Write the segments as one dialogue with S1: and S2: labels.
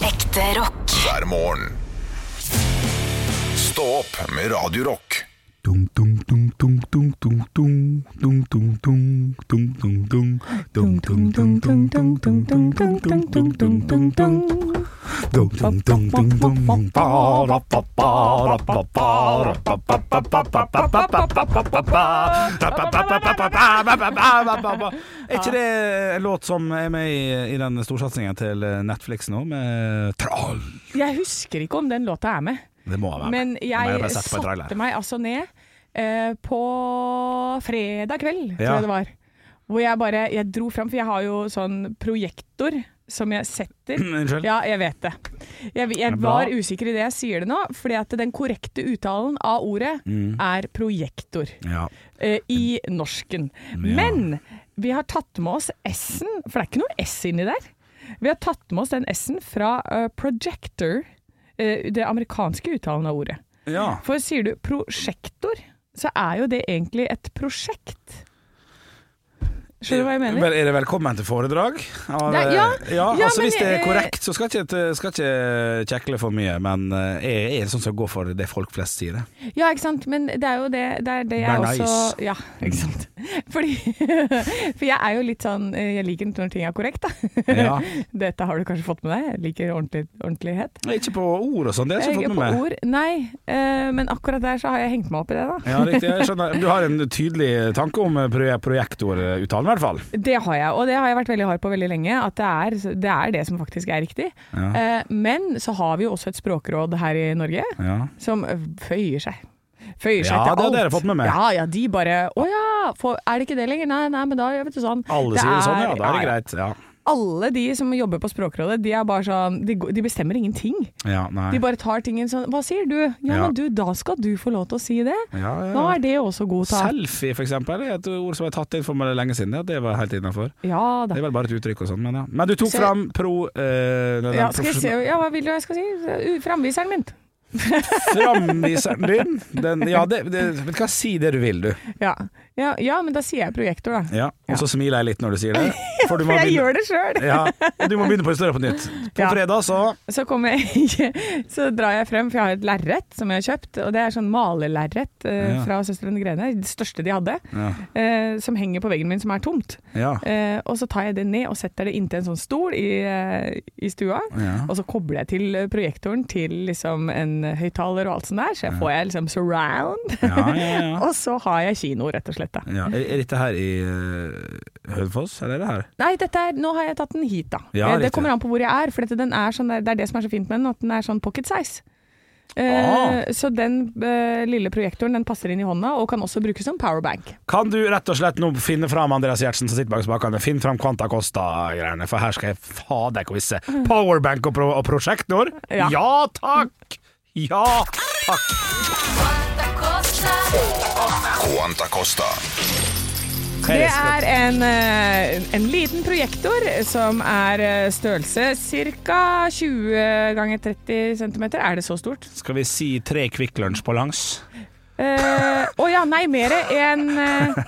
S1: Ekte rock.
S2: hver morgen. Stå opp med Radio Rock.
S3: Dung, dung, dung, dung, dung, dung, dung, dung, dung, dung, dung, dung, dung. Dung, dung, dung, dung, dung, dung, dung, dung, dung, dung, dung, dung, dung. Dung, dung, dung, dung, dung, dung.
S4: Er ikke det en låt som er med i, i den storsatsingen til Netflix nå, med Trall?
S5: Jeg husker ikke om den låta er med,
S4: Det må være med.
S5: men
S4: Det må
S5: jeg
S4: være sett på en trailer.
S5: satte meg altså ned eh, på fredag kveld, tror
S4: Ja.
S5: jeg det var. Hvor jeg bare jeg dro fram, for jeg har jo sånn projektor som jeg setter.
S4: Unnskyld?
S5: Ja, jeg vet det. Jeg, jeg
S4: bra.
S5: var usikker i det jeg sier det nå, fordi at den korrekte uttalen av ordet
S4: Mm.
S5: er projektor
S4: Ja.
S5: eh, i norsken. Men vi har tatt med oss S-en, for det er ikke noe S inni der. Vi har tatt med oss den S-en fra eh, projector, eh, det amerikanske uttalen av ordet.
S4: ja.
S5: For sier du prosjektor, så er jo det egentlig et prosjekt. Skjønner du hva jeg mener?
S4: Vel, er det velkommen til foredrag? Av,
S5: Det er- ja. Ja,
S4: altså
S5: men
S4: Hvis det er
S5: jeg-
S4: korrekt, så skal ikke, et- skal ikke kjekle for mye, men eh, jeg er sånn som går for det folk flest sier. det.
S5: Ja, ikke sant. Men det er jo det, det, er det jeg
S4: Vær
S5: også
S4: nice.
S5: Ja, ikke sant. Fordi, for jeg er jo litt sånn eh, Jeg liker når ting er korrekt, da.
S4: Ja.
S5: Dette har du kanskje fått med deg? Jeg liker ordentlig, ordentlighet.
S4: Ikke på ord og sånn, det har jeg ikke
S5: Jeg-
S4: fått
S5: på
S4: med meg.
S5: ord, nei. eh, men akkurat der så har jeg hengt meg opp i det, da.
S4: Ja, riktig, jeg skjønner. Du har en tydelig tanke om eh, pro- projektoruttalen, i hvert fall.
S5: Det har jeg, og det har jeg vært veldig hard på veldig lenge. At det er det, er det som faktisk er riktig.
S4: Ja.
S5: Eh, men så har vi jo også et språkråd her i Norge
S4: Ja.
S5: som føyer seg. Føyer seg
S4: Ja,
S5: til
S4: det har
S5: alt.
S4: dere fått med meg.
S5: Ja, ja, de bare Å ja, for, er det ikke det lenger? Nei, nei, men da gjør vi det sånn.
S4: Alle sier det sånn, ja. Da er det greit. Ja.
S5: Alle de som jobber på Språkrådet, de er bare sånn De, går- de bestemmer ingenting.
S4: Ja, nei.
S5: De bare tar tingen sånn Hva sier du? Ja,
S4: Ja.
S5: men du, da skal du få lov til å si det.
S4: Ja, ja,
S5: Da
S4: ja.
S5: er det også god tale.
S4: Selfie, for eksempel, er et ord som er tatt inn for meg lenge siden. Ja, det var helt innafor.
S5: Ja da.
S4: Det er vel bare et uttrykk og sånn, men ja. Men du tok
S5: Så-
S4: fram pro... Eh, den
S5: Ja, skal jeg se,
S4: profesjon-
S5: ja, hva vil du jeg skal si? U- Framviseren min.
S4: Framviseren din. Den, ja, det, det, vet du hva, si det du vil, du.
S5: Ja. Ja, ja, men da sier jeg projektor, da.
S4: Ja. Og så smiler jeg litt når du sier det. For du
S5: For jeg gjør det sjøl!
S4: Ja, og du må begynne på historien på nytt. På
S5: Ja.
S4: fredag så
S5: Så, kommer jeg, så drar jeg frem, for jeg har et lerret som jeg har kjøpt. Og det er sånn malerlerret eh,
S4: Ja.
S5: fra Søstrene Grene, det største de hadde.
S4: Ja.
S5: eh, som henger på veggen min, som er tomt.
S4: ja.
S5: Eh, og så tar jeg det ned og setter det inntil en sånn stol i, eh, i stua.
S4: Ja.
S5: Og så kobler jeg til eh, projektoren til liksom en høyttaler og alt sånt der, så jeg får jeg liksom surround.
S4: Ja, ja, ja.
S5: og så har jeg kino, rett og slett. Da.
S4: Ja, er, er dette her i uh, Hønefoss, eller er det her?
S5: Nei, dette er, nå har jeg tatt den hit, da.
S4: Ja,
S5: Eh, det
S4: riktig.
S5: kommer an på hvor jeg er, for dette, den er sånn, det er det som er så fint med den, at den er sånn pocket size.
S4: Ah.
S5: Eh, Så den eh, lille projektoren den passer inn i hånda, og kan også brukes som powerbank.
S4: Kan du rett og slett nå finne fram Andreas Gjertsen som sitter bak spakene? Finn fram Quanta Costa-greiene, for her skal jeg fader kvisse. Powerbank og, pro og prosjektor?
S5: Ja.
S4: ja takk! Ja takk!
S2: Quanta Costa.
S5: Det er en, eh, en liten projektor som er eh, størrelse ca. 20 ganger 30 cm. Er det så stort?
S4: Skal vi si tre Kvikk Lunsj på langs?
S5: Eh, Å ja, nei, mer enn eh,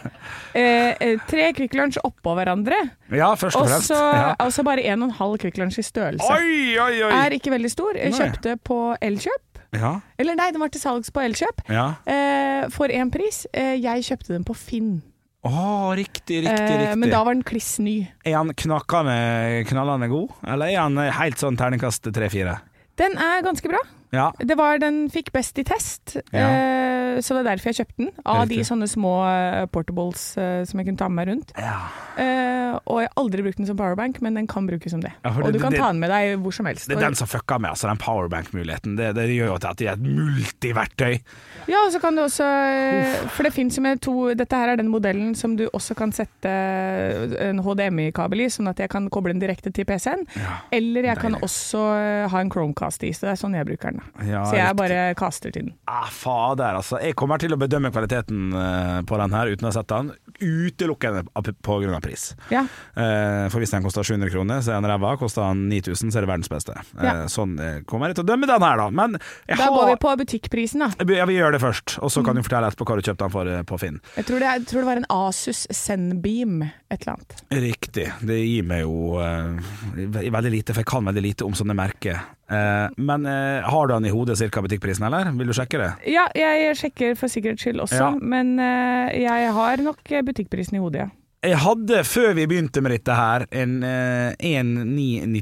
S5: eh, eh, tre Kvikk Lunsj oppå hverandre.
S4: Ja, først og
S5: Og
S4: fremst.
S5: så
S4: Ja.
S5: og så bare 1,5 Kvikk Lunsj i størrelse.
S4: Oi, oi, oi!
S5: er ikke veldig stor. Jeg
S4: Nei.
S5: kjøpte på Elkjøp.
S4: Ja,
S5: Eller nei, den var til salgs på Elkjøp.
S4: ja.
S5: Eh, for én pris. Eh, jeg kjøpte den på Finn,
S4: Å, riktig, riktig,
S5: eh,
S4: riktig.
S5: men da var den kliss ny.
S4: Er han knakende, knallende god, eller er han helt sånn terningkast tre-fire?
S5: Den er ganske bra.
S4: Ja.
S5: Det var Den fikk best i test,
S4: Ja.
S5: eh, så det er derfor jeg kjøpte den. Av de
S4: Riktig.
S5: sånne små eh, portables eh, som jeg kunne ta med meg rundt.
S4: ja.
S5: Eh, og jeg har aldri brukt den som powerbank, men den kan brukes som det.
S4: Ja, for
S5: og
S4: det-
S5: du kan
S4: det-
S5: ta den med deg hvor som helst.
S4: Det er den som fucka med, altså, den powerbank-muligheten. Det, det gjør jo at det er et multiverktøy.
S5: Ja, og så kan du også eh, For det finnes jo med to Dette her er den modellen som du også kan sette eh, en HDMI-kabel i, sånn at jeg kan koble den direkte til PC-en.
S4: Ja.
S5: Eller jeg kan
S4: Deilig.
S5: også eh, ha en Chromecast i, så det er sånn jeg bruker den. da.
S4: Ja,
S5: så jeg
S4: riktig.
S5: bare kaster til den.
S4: Ah, fader, altså. Jeg kommer til å bedømme kvaliteten eh, på den her uten å ha sett den, utelukkende av- på grunn av pris.
S5: Ja.
S4: Eh, for hvis den koster 700 kroner, så er den ræva. Koster den 9000, så er det verdens beste. Eh,
S5: Ja.
S4: Sånn eh, kommer jeg til å dømme den her, da. Men jeg
S5: Da
S4: har
S5: går vi på Mm. butikkprisen, da.
S4: Ja, vi gjør det først, og så kan du fortelle etterpå hva du kjøpte den for eh, på Finn.
S5: Jeg tror det, jeg tror det var en Asus Zenbeam, et eller annet.
S4: Riktig. Det gir meg jo eh, ve- veldig lite, for jeg kan veldig lite om sånne merker. Eh, men eh, har du den i hodet cirka butikkprisen, eller? Vil du sjekke det?
S5: Ja, jeg sjekker for sikkerhets skyld også,
S4: Ja.
S5: men eh, jeg har nok butikkprisen i hodet, ja.
S4: Jeg hadde, før vi begynte med dette her, en eh,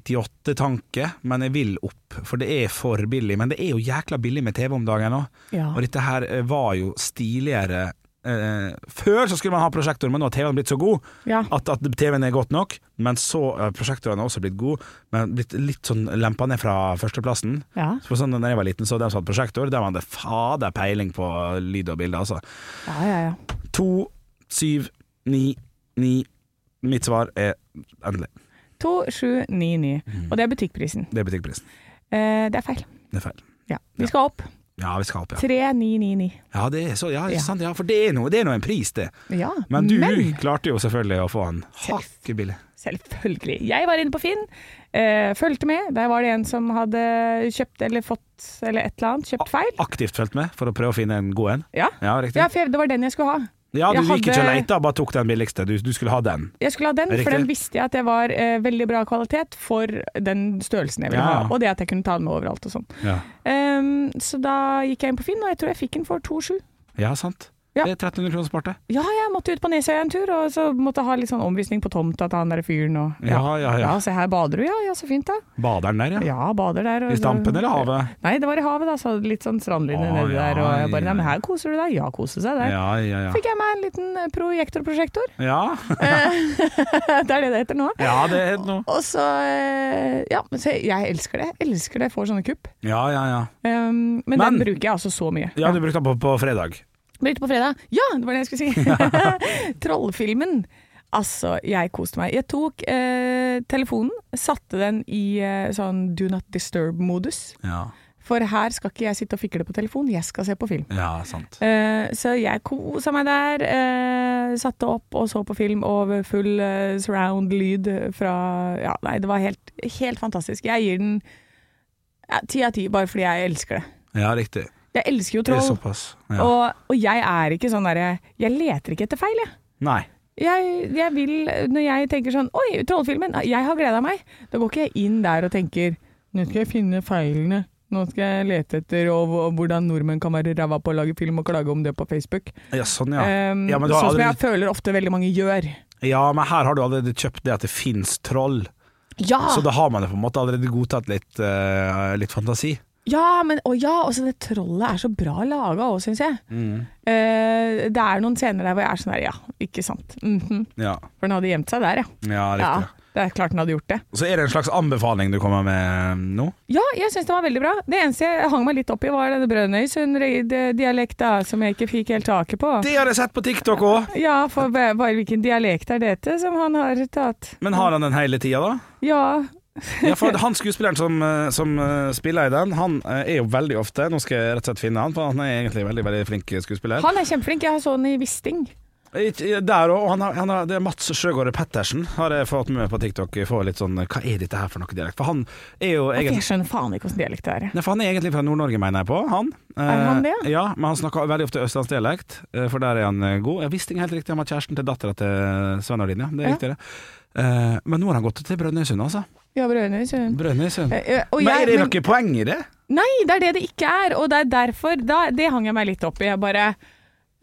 S4: 1998-tanke, men jeg vil opp, for det er for billig. Men det er jo jækla billig med TV om dagen nå.
S5: Ja.
S4: Og dette her eh, var jo stiligere eh, Før så skulle man ha prosjektor, men nå har TV-en blitt så god
S5: Ja.
S4: at, at TV-en er godt nok. Men så har prosjektorene også blitt gode, men blitt litt sånn lempa ned fra førsteplassen.
S5: Ja.
S4: Så sånn, da jeg var liten, så de som hadde prosjektor, de hadde fader peiling på lyd og bilde, altså.
S5: Ja, ja, ja.
S4: To, syv, ni, ni. Mitt svar er endelig.
S5: 2799.
S4: Mm.
S5: Og det er butikkprisen.
S4: Det er butikkprisen.
S5: Eh, det er feil.
S4: Det er feil.
S5: Ja. Vi skal opp.
S4: Ja, vi skal opp, ja.
S5: 3999.
S4: Ja, det er så, ja,
S5: Ja.
S4: ikke sant, ja for det er, noe, det er noe en pris, det.
S5: Ja,
S4: Men du klarte jo selvfølgelig å få han hakkebillig.
S5: Selvfølgelig. Jeg var inne på Finn, eh, fulgte med. Der var det en som hadde kjøpt eller fått eller et eller annet,
S4: Ah.
S5: kjøpt feil.
S4: Aktivt fulgt med for å prøve å finne en god en.
S5: Ja,
S4: Ja, riktig.
S5: ja for jeg- det var den jeg skulle ha.
S4: Ja, du
S5: jeg
S4: gikk ikke og
S5: hadde-
S4: leita, bare tok den billigste. Du, du skulle ha den.
S5: Jeg skulle ha den,
S4: Riktig.
S5: for den visste jeg at det var eh, veldig bra kvalitet for den størrelsen jeg ville
S4: Ja.
S5: ha, og det at jeg kunne ta den med overalt og sånn.
S4: Ja,
S5: Ehm, så da gikk jeg inn på Finn, og jeg tror jeg fikk den for 2,7.
S4: ja sant.
S5: Ja.
S4: Det er 1300 kroner spart, det.
S5: Ja, jeg måtte ut på Nesøya en tur, og så måtte jeg ha litt sånn omvisning på tomta til han der fyren og
S4: Ja, ja, ja.
S5: ja, se her bader du, ja, ja, så fint da.
S4: Baderen der, ja.
S5: Ja, bader der. og-
S4: I stampen eller havet?
S5: Nei, det var i havet da, så litt sånn strandlinje
S4: Å,
S5: nedi
S4: ja,
S5: der, og jeg bare,
S4: ja.
S5: nei, men her koser du deg. Ja, kose seg der.
S4: Ja, ja, ja.
S5: Fikk jeg meg en liten eh, projektorprosjektor,
S4: Ja,
S5: det er det det heter nå.
S4: ja det er noe.
S5: Og så, eh, ja, men se, jeg elsker det. Jeg elsker det, jeg får sånne kupp.
S4: Ja, ja, ja.
S5: Um, men,
S4: Men-
S5: den bruker jeg altså så mye.
S4: Ja, du brukte den på, på fredag.
S5: Brukte på fredag. Ja, det var det jeg skulle si. Trollfilmen. Altså, jeg koste meg. Jeg tok eh, telefonen, satte den i eh, sånn do not disturb-modus.
S4: Ja,
S5: For her skal ikke jeg sitte og fikle på telefon, jeg skal se på film.
S4: ja sant.
S5: Eh, så jeg kosa meg der. eh, satte opp og så på film over full eh, surround-lyd fra Ja, nei, det var helt, helt fantastisk. Jeg gir den ja, ti av ti, bare fordi jeg elsker det.
S4: Ja, riktig.
S5: Jeg elsker jo
S4: Det er
S5: troll.
S4: såpass. Ja.
S5: Og, og jeg er ikke sånn derre Jeg leter ikke etter feil, jeg.
S4: Nei.
S5: Jeg, jeg vil, når jeg tenker sånn Oi, trollfilmen, jeg har gleda meg. Da går ikke jeg inn der og tenker Nå skal jeg finne feilene. Nå skal jeg lete etter og, og hvordan nordmenn kan være ræva på å lage film og klage om det på Facebook.
S4: Ja, sånn, ja.
S5: Ehm,
S4: ja, men du
S5: sånn
S4: har
S5: som jeg
S4: allerede,
S5: føler ofte veldig mange gjør.
S4: ja, men her har du allerede kjøpt det at det fins troll,
S5: Ja,
S4: så da har man det på en måte allerede godtatt litt, eh, litt fantasi.
S5: ja men og ja, også det trollet er så bra laga òg, syns jeg. Eh, det er noen scener der hvor jeg er sånn der, ja, ikke sant. Mhm.
S4: Ja,
S5: For den hadde gjemt seg der, ja.
S4: ja
S5: ja.
S4: riktig.
S5: Det er klart den hadde gjort det.
S4: Så er det en slags anbefaling du kommer med mm, nå?
S5: Ja, jeg syns det var veldig bra. Det eneste jeg hang meg litt opp i, var denne Brønnøysund-dialekta som jeg ikke fikk helt taket på.
S4: Det har jeg sett på TikTok òg!
S5: Ja, for hva- hva- hvilken dialekt er dette som han har tatt?
S4: Men har han den hele tida, da?
S5: Ja,
S4: Ja, for han skuespilleren som, eh, som eh, spiller i den, han eh, er jo veldig ofte Nå skal jeg rett og slett finne han, for han er egentlig veldig, veldig flink skuespiller.
S5: han er kjempeflink. Jeg så han i Wisting.
S4: Ikke- Der òg. Han har, han har, det er Mats Sjøgaard Pettersen har jeg fått med meg på TikTok. Jeg får litt sånn Hva er dette her for noe dialekt? For han er jo
S5: Jeg
S4: egentlig
S5: skjønner faen ikke åssen dialekt det er. jeg.
S4: Nei, for han er egentlig fra Nord-Norge, mener jeg på. Han.
S5: Er han det?
S4: Eh, Ja, men han snakker veldig ofte østlandsdialekt, eh, for der er han eh, god. Jeg visste ikke helt riktig, han var kjæresten til dattera til Svein Ordin, ja. Det er
S5: Ja.
S4: riktig, det. Eh, Men nå har han gått til Brønnøysund, altså.
S5: Ja, Brønnøysund.
S4: Brønnøysund.
S5: Eh, eh, og
S4: men
S5: jeg-
S4: er det
S5: men-
S4: noe poeng i det?
S5: Nei, det er det det ikke er, og det er derfor da, Det hang jeg meg litt opp i. Jeg bare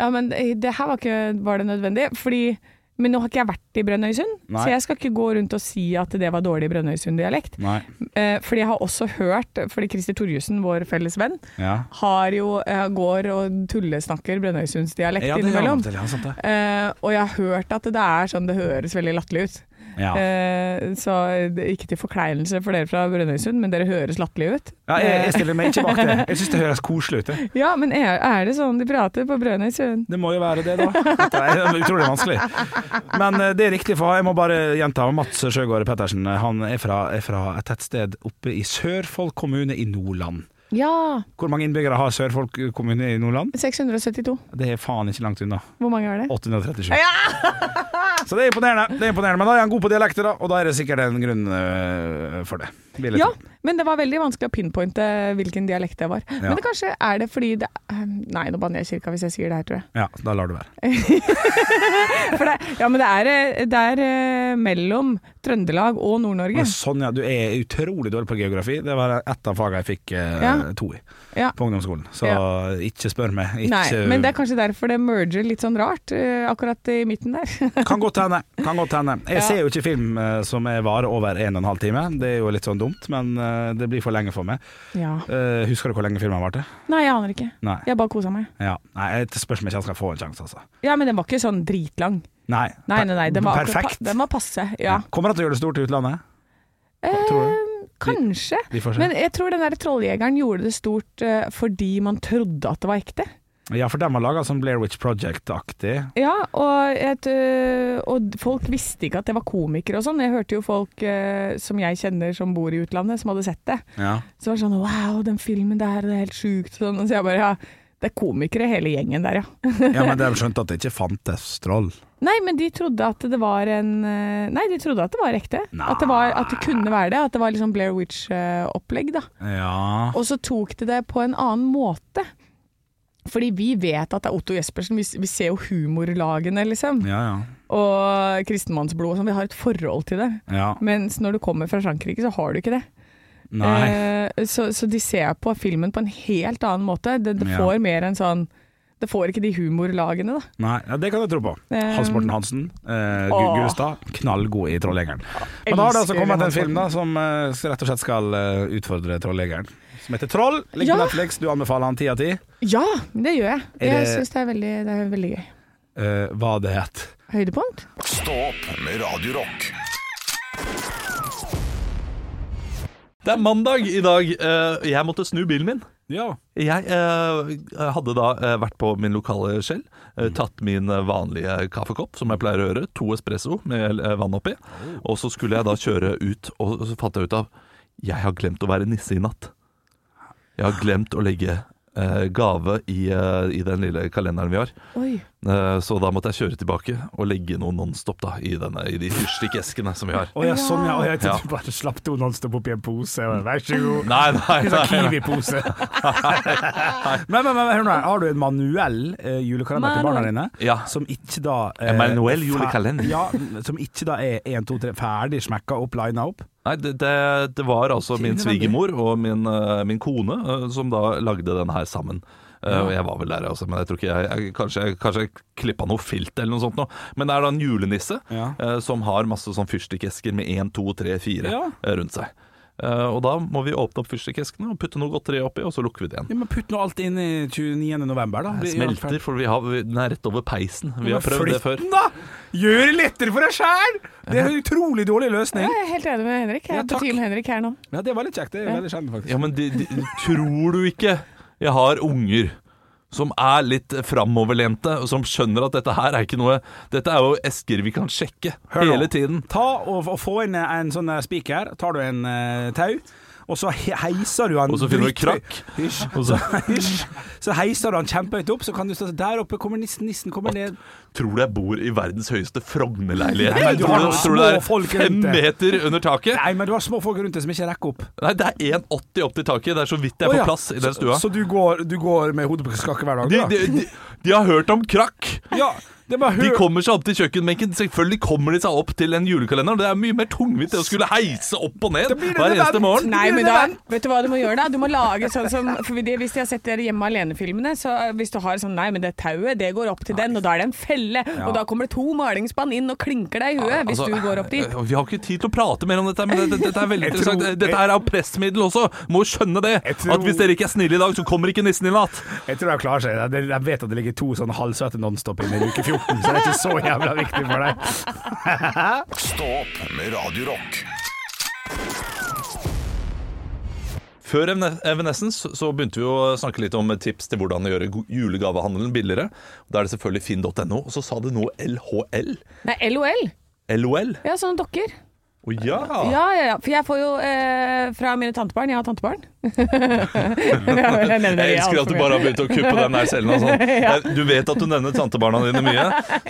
S5: Ja, men eh, det her var ikke Var det nødvendig? Fordi Men nå har ikke jeg vært i Brønnøysund,
S4: Nei.
S5: så jeg skal ikke gå rundt og si at det var dårlig Brønnøysund-dialekt.
S4: Nei.
S5: Eh, fordi jeg har også hørt, fordi Christer Torjussen, vår felles venn,
S4: Ja,
S5: har jo, eh, går og tullesnakker Brønnøysundsdialekt
S4: ja det er han
S5: innimellom.
S4: til, ja, sant det.
S5: Eh, og jeg har hørt at det er sånn det høres veldig latterlig ut.
S4: Ja.
S5: Eh, så det, ikke til forkleinelse for dere fra Brønnøysund, men dere høres latterlig ut. Eh,
S4: Ja, jeg, jeg stiller meg ikke bak det. Jeg syns det høres koselig ut. jeg.
S5: Ja, men er, er det sånn de prater på Brønnøysund?
S4: Det må jo være det, da. Dette er utrolig vanskelig. Men eh, det er riktig, for jeg må bare gjenta. Mats Sjøgaard Pettersen eh, han er fra, er fra et tettsted oppe i Sørfold kommune i Nordland.
S5: Ja.
S4: Hvor mange innbyggere har Sørfold kommune i Nordland?
S5: 672.
S4: Det er faen ikke langt unna.
S5: Hvor mange er det?
S4: 837. Så det er imponerende. det er imponerende Men da er han god på dialekter, da, og da er det sikkert en grunn eh, for det. vil jeg
S5: Ja,
S4: tro.
S5: men det var veldig vanskelig å pinpointe hvilken dialekt det var. Men det kanskje er det fordi det eh, Nei, nå banner jeg i kirka hvis jeg sier det her, tror jeg.
S4: ja, da lar du være.
S5: For det, ja, men det er, eh, det er eh, mellom Trøndelag og Nord-Norge.
S4: Men Sånn, ja. Du er utrolig dårlig på geografi. Det var ett av fagene jeg fikk eh,
S5: Ja.
S4: to i
S5: Ja.
S4: på ungdomsskolen. Så
S5: Ja.
S4: ikke spør meg. Ikke,
S5: Nei, men det er kanskje derfor det merger litt sånn rart, eh, akkurat i midten der.
S4: Kan godt hende. Kan godt hende. Jeg
S5: Ja.
S4: ser jo ikke film eh, som er varer over en og en halv time. Det er jo litt sånn dumt, men eh, det blir for lenge for meg.
S5: ja.
S4: Eh, Husker du hvor lenge filmen varte?
S5: Nei, jeg aner ikke.
S4: Nei.
S5: Jeg bare kosa meg.
S4: Ja. Nei, det spørs om ikke jeg skal få en sjanse, altså.
S5: Ja, men den var ikke sånn dritlang.
S4: Nei.
S5: Nei, nei, nei. Den var, akkurat
S4: Perfekt.
S5: pa- den var passe. Ja.
S4: Kommer han til å gjøre det stort i utlandet? Tror du?
S5: Eh, kanskje.
S4: Vi får se.
S5: Men jeg tror den der trolljegeren gjorde det stort eh, fordi man trodde at det var ekte.
S4: Ja, for den var laga sånn Blair Witch Project-aktig.
S5: Ja, og, et, øh, og folk visste ikke at det var komikere og sånn. Jeg hørte jo folk øh, som jeg kjenner som bor i utlandet, som hadde sett det.
S4: Ja.
S5: Så var det sånn Wow, den filmen der, det er helt sjukt. og Sånn. Og Så jeg bare Ja, det er komikere hele gjengen der, ja.
S4: ja, men de skjønte at det ikke fantes troll.
S5: Nei, men de trodde at det var en øh, Nei, de trodde at det var ekte. At det, var, at det kunne være det. At det var liksom Blair Witch-opplegg, da.
S4: Ja.
S5: Og så tok de det på en annen måte. Fordi vi vet at det er Otto Jespersen, vi, vi ser jo humorlagene, liksom.
S4: Ja, ja.
S5: og kristenmannsblod og sånn. Vi har et forhold til det.
S4: ja.
S5: Mens når du kommer fra Frankrike, så har du ikke det.
S4: Nei.
S5: Eh, så, så de ser på filmen på en helt annen måte. Det, det
S4: Ja.
S5: får mer en sånn Det får ikke de humorlagene, da.
S4: Nei. Ja, det kan jeg tro på.
S5: Eh,
S4: Hans Morten Hansen, eh, Gu-
S5: åh.
S4: Gullestad, knallgod i Trolljegeren. Men da har det altså
S5: Elsker
S4: kommet en
S5: Hans
S4: film da
S5: Morten.
S4: som eh, rett og slett skal eh, utfordre Trolljegeren. Som heter Troll. Ligger
S5: Ja.
S4: på Netflix, du anbefaler han ti av ti.
S5: Ja, det gjør jeg.
S4: Er
S5: Jeg
S4: det-
S5: syns det, er veldig- det er veldig gøy.
S4: Eh, hva det het.
S5: Høydepunkt?
S2: Stå opp med Radio Rock.
S1: Det er mandag i dag. Eh, Jeg måtte snu bilen min.
S4: Ja.
S1: Jeg eh, hadde da eh, vært på min lokale Shell, eh, tatt min eh, vanlige kaffekopp, som jeg pleier å gjøre, to espresso med eh, vann oppi, og så skulle jeg da kjøre ut, og så fant jeg ut av Jeg har glemt å være nisse i natt. Jeg har glemt å legge eh, gave i, eh, i den lille kalenderen vi har.
S5: Oi.
S1: Eh, Så da måtte jeg kjøre tilbake og legge noe Nonstop da, i, denne, i de fyrstikkeskene som vi har.
S4: Å ja, sånn ja. Å, jeg
S1: Ja.
S4: tenkte du bare slapp to nonstop opp i en pose. og Vær så god.
S1: Nei, nei,
S4: En
S1: nei,
S4: sånn
S1: nei.
S4: Kiwi-pose. men, men, men hør nå her. Har du en manuell eh, julekalender til barna dine?
S1: Ja.
S4: Som ikke da eh,
S1: En manuell
S4: fer-
S1: julekalender?
S4: Ja, som ikke da er 1, 2, 3 ferdig smekka opp, lina opp?
S1: Nei, det, det, det var altså min
S4: Innvendig.
S1: svigermor og min, eh, min kone eh, som da lagde den her sammen. Eh, Og jeg var vel der, altså, men jeg tror ikke jeg, jeg Kanskje jeg, kanskje jeg klippa noe filt eller noe sånt nå. Men det er da en julenisse
S4: Ja.
S1: eh, som har masse sånn fyrstikkesker med 1, 2, 3, 4
S4: Ja.
S1: eh, rundt seg. Eh, og da må vi åpne opp fyrstikeskene og putte noe godteri oppi, og så lukker vi det igjen.
S4: Ja, men Putt nå alt inn i 29. november, da.
S1: Det
S4: Blir-
S1: smelter, for vi har, vi- den er rett over peisen. Vi har prøvd det før.
S4: Flytt den, da! Gjør det lettere for deg sjæl! Det er en utrolig dårlig
S5: Ja,
S4: løsning.
S5: jeg er helt enig med Henrik. Jeg
S4: Ja,
S5: er
S4: takk.
S5: på Team Henrik her nå.
S4: Ja, det var litt kjekt. Det er veldig sjelden, faktisk.
S1: Ja, men de, de, tror du ikke jeg har unger som er litt framoverlente, og som skjønner at dette her er ikke noe Dette er jo esker vi kan sjekke
S4: Hør nå.
S1: hele tiden.
S4: Ta og, og få inn en sånn eh, spiker. Tar du en eh, tau, og så he- heiser du han
S1: Og så finner du
S4: dritthøy-
S1: krakk.
S4: Hysj.
S1: Og så,
S4: Hysj. Så heiser du han kjempehøyt opp, så kan du stå der oppe. Kommer nissen, nissen kommer ned.
S1: tror du jeg bor i verdens høyeste
S4: Nei,
S1: Frogner-leilighet?
S4: du har
S1: Tror, du-
S4: små
S1: tror du det er
S4: folk rundt
S1: fem
S4: det.
S1: meter under taket?
S4: Nei, men du har små folk rundt deg som ikke rekker opp.
S1: Nei, det er 1,80 opp til taket. Det er så vidt
S4: Å,
S1: jeg får
S4: ja.
S1: plass i den stua.
S4: Så, så du, går, du går med hodet på skakke hver dag?
S1: De,
S4: da?
S1: de, de, de har hørt om krakk.
S4: ja, det er bare
S1: De
S4: hør-
S1: kommer seg opp til kjøkkenbenken. Selvfølgelig kommer de seg opp til en julekalender. Det er mye mer tungvint det å skulle heise opp og ned
S4: blir det
S1: hver
S4: nevnt.
S1: eneste morgen.
S5: Nei,
S4: blir
S5: men
S4: det
S5: da,
S4: venn.
S5: vet du hva du må gjøre da? Du må lage sånn som for det, Hvis de har sett de Hjemme alene-filmene, så hvis du har sånn Nei, men det tauet, det går opp til den, og da er det en felle. Og da kommer det to malingsspann inn og klinker deg i huet hvis
S1: Altså,
S5: du går opp dit.
S1: eh, Vi har ikke tid til å prate mer om dette, men dette, dette er veldig
S4: Jeg
S1: interessant.
S4: tror-
S1: Dette her er jo pressmiddel også. Må skjønne det.
S4: Jeg tror-
S1: At hvis dere ikke er snille i dag, så kommer ikke nissen i natt.
S4: Jeg tror de klarer seg. De, de vet at det ligger to sånn halvsøte Nonstop inne i uke 14, så det er ikke så jævla viktig for deg.
S2: Stå opp med Radio Rock.
S1: Før Evne- Evanescence så begynte vi å snakke litt om tips til hvordan å gjøre go- julegavehandelen billigere. Da er det selvfølgelig finn.no. Og så sa du noe LHL.
S5: Nei, LOL.
S1: LOL.
S5: Ja, sånne dokker.
S1: Å Å ja!
S5: Ja, ja, ja. For jeg får jo eh, fra mine tantebarn Jeg har tantebarn. jeg, nevner
S1: Jeg
S5: det
S1: elsker
S5: alt for
S1: at du
S5: mye.
S1: bare har begynt å kuppe den der cellen. og Sånn. Jeg- Du vet at du nevner tantebarna dine mye,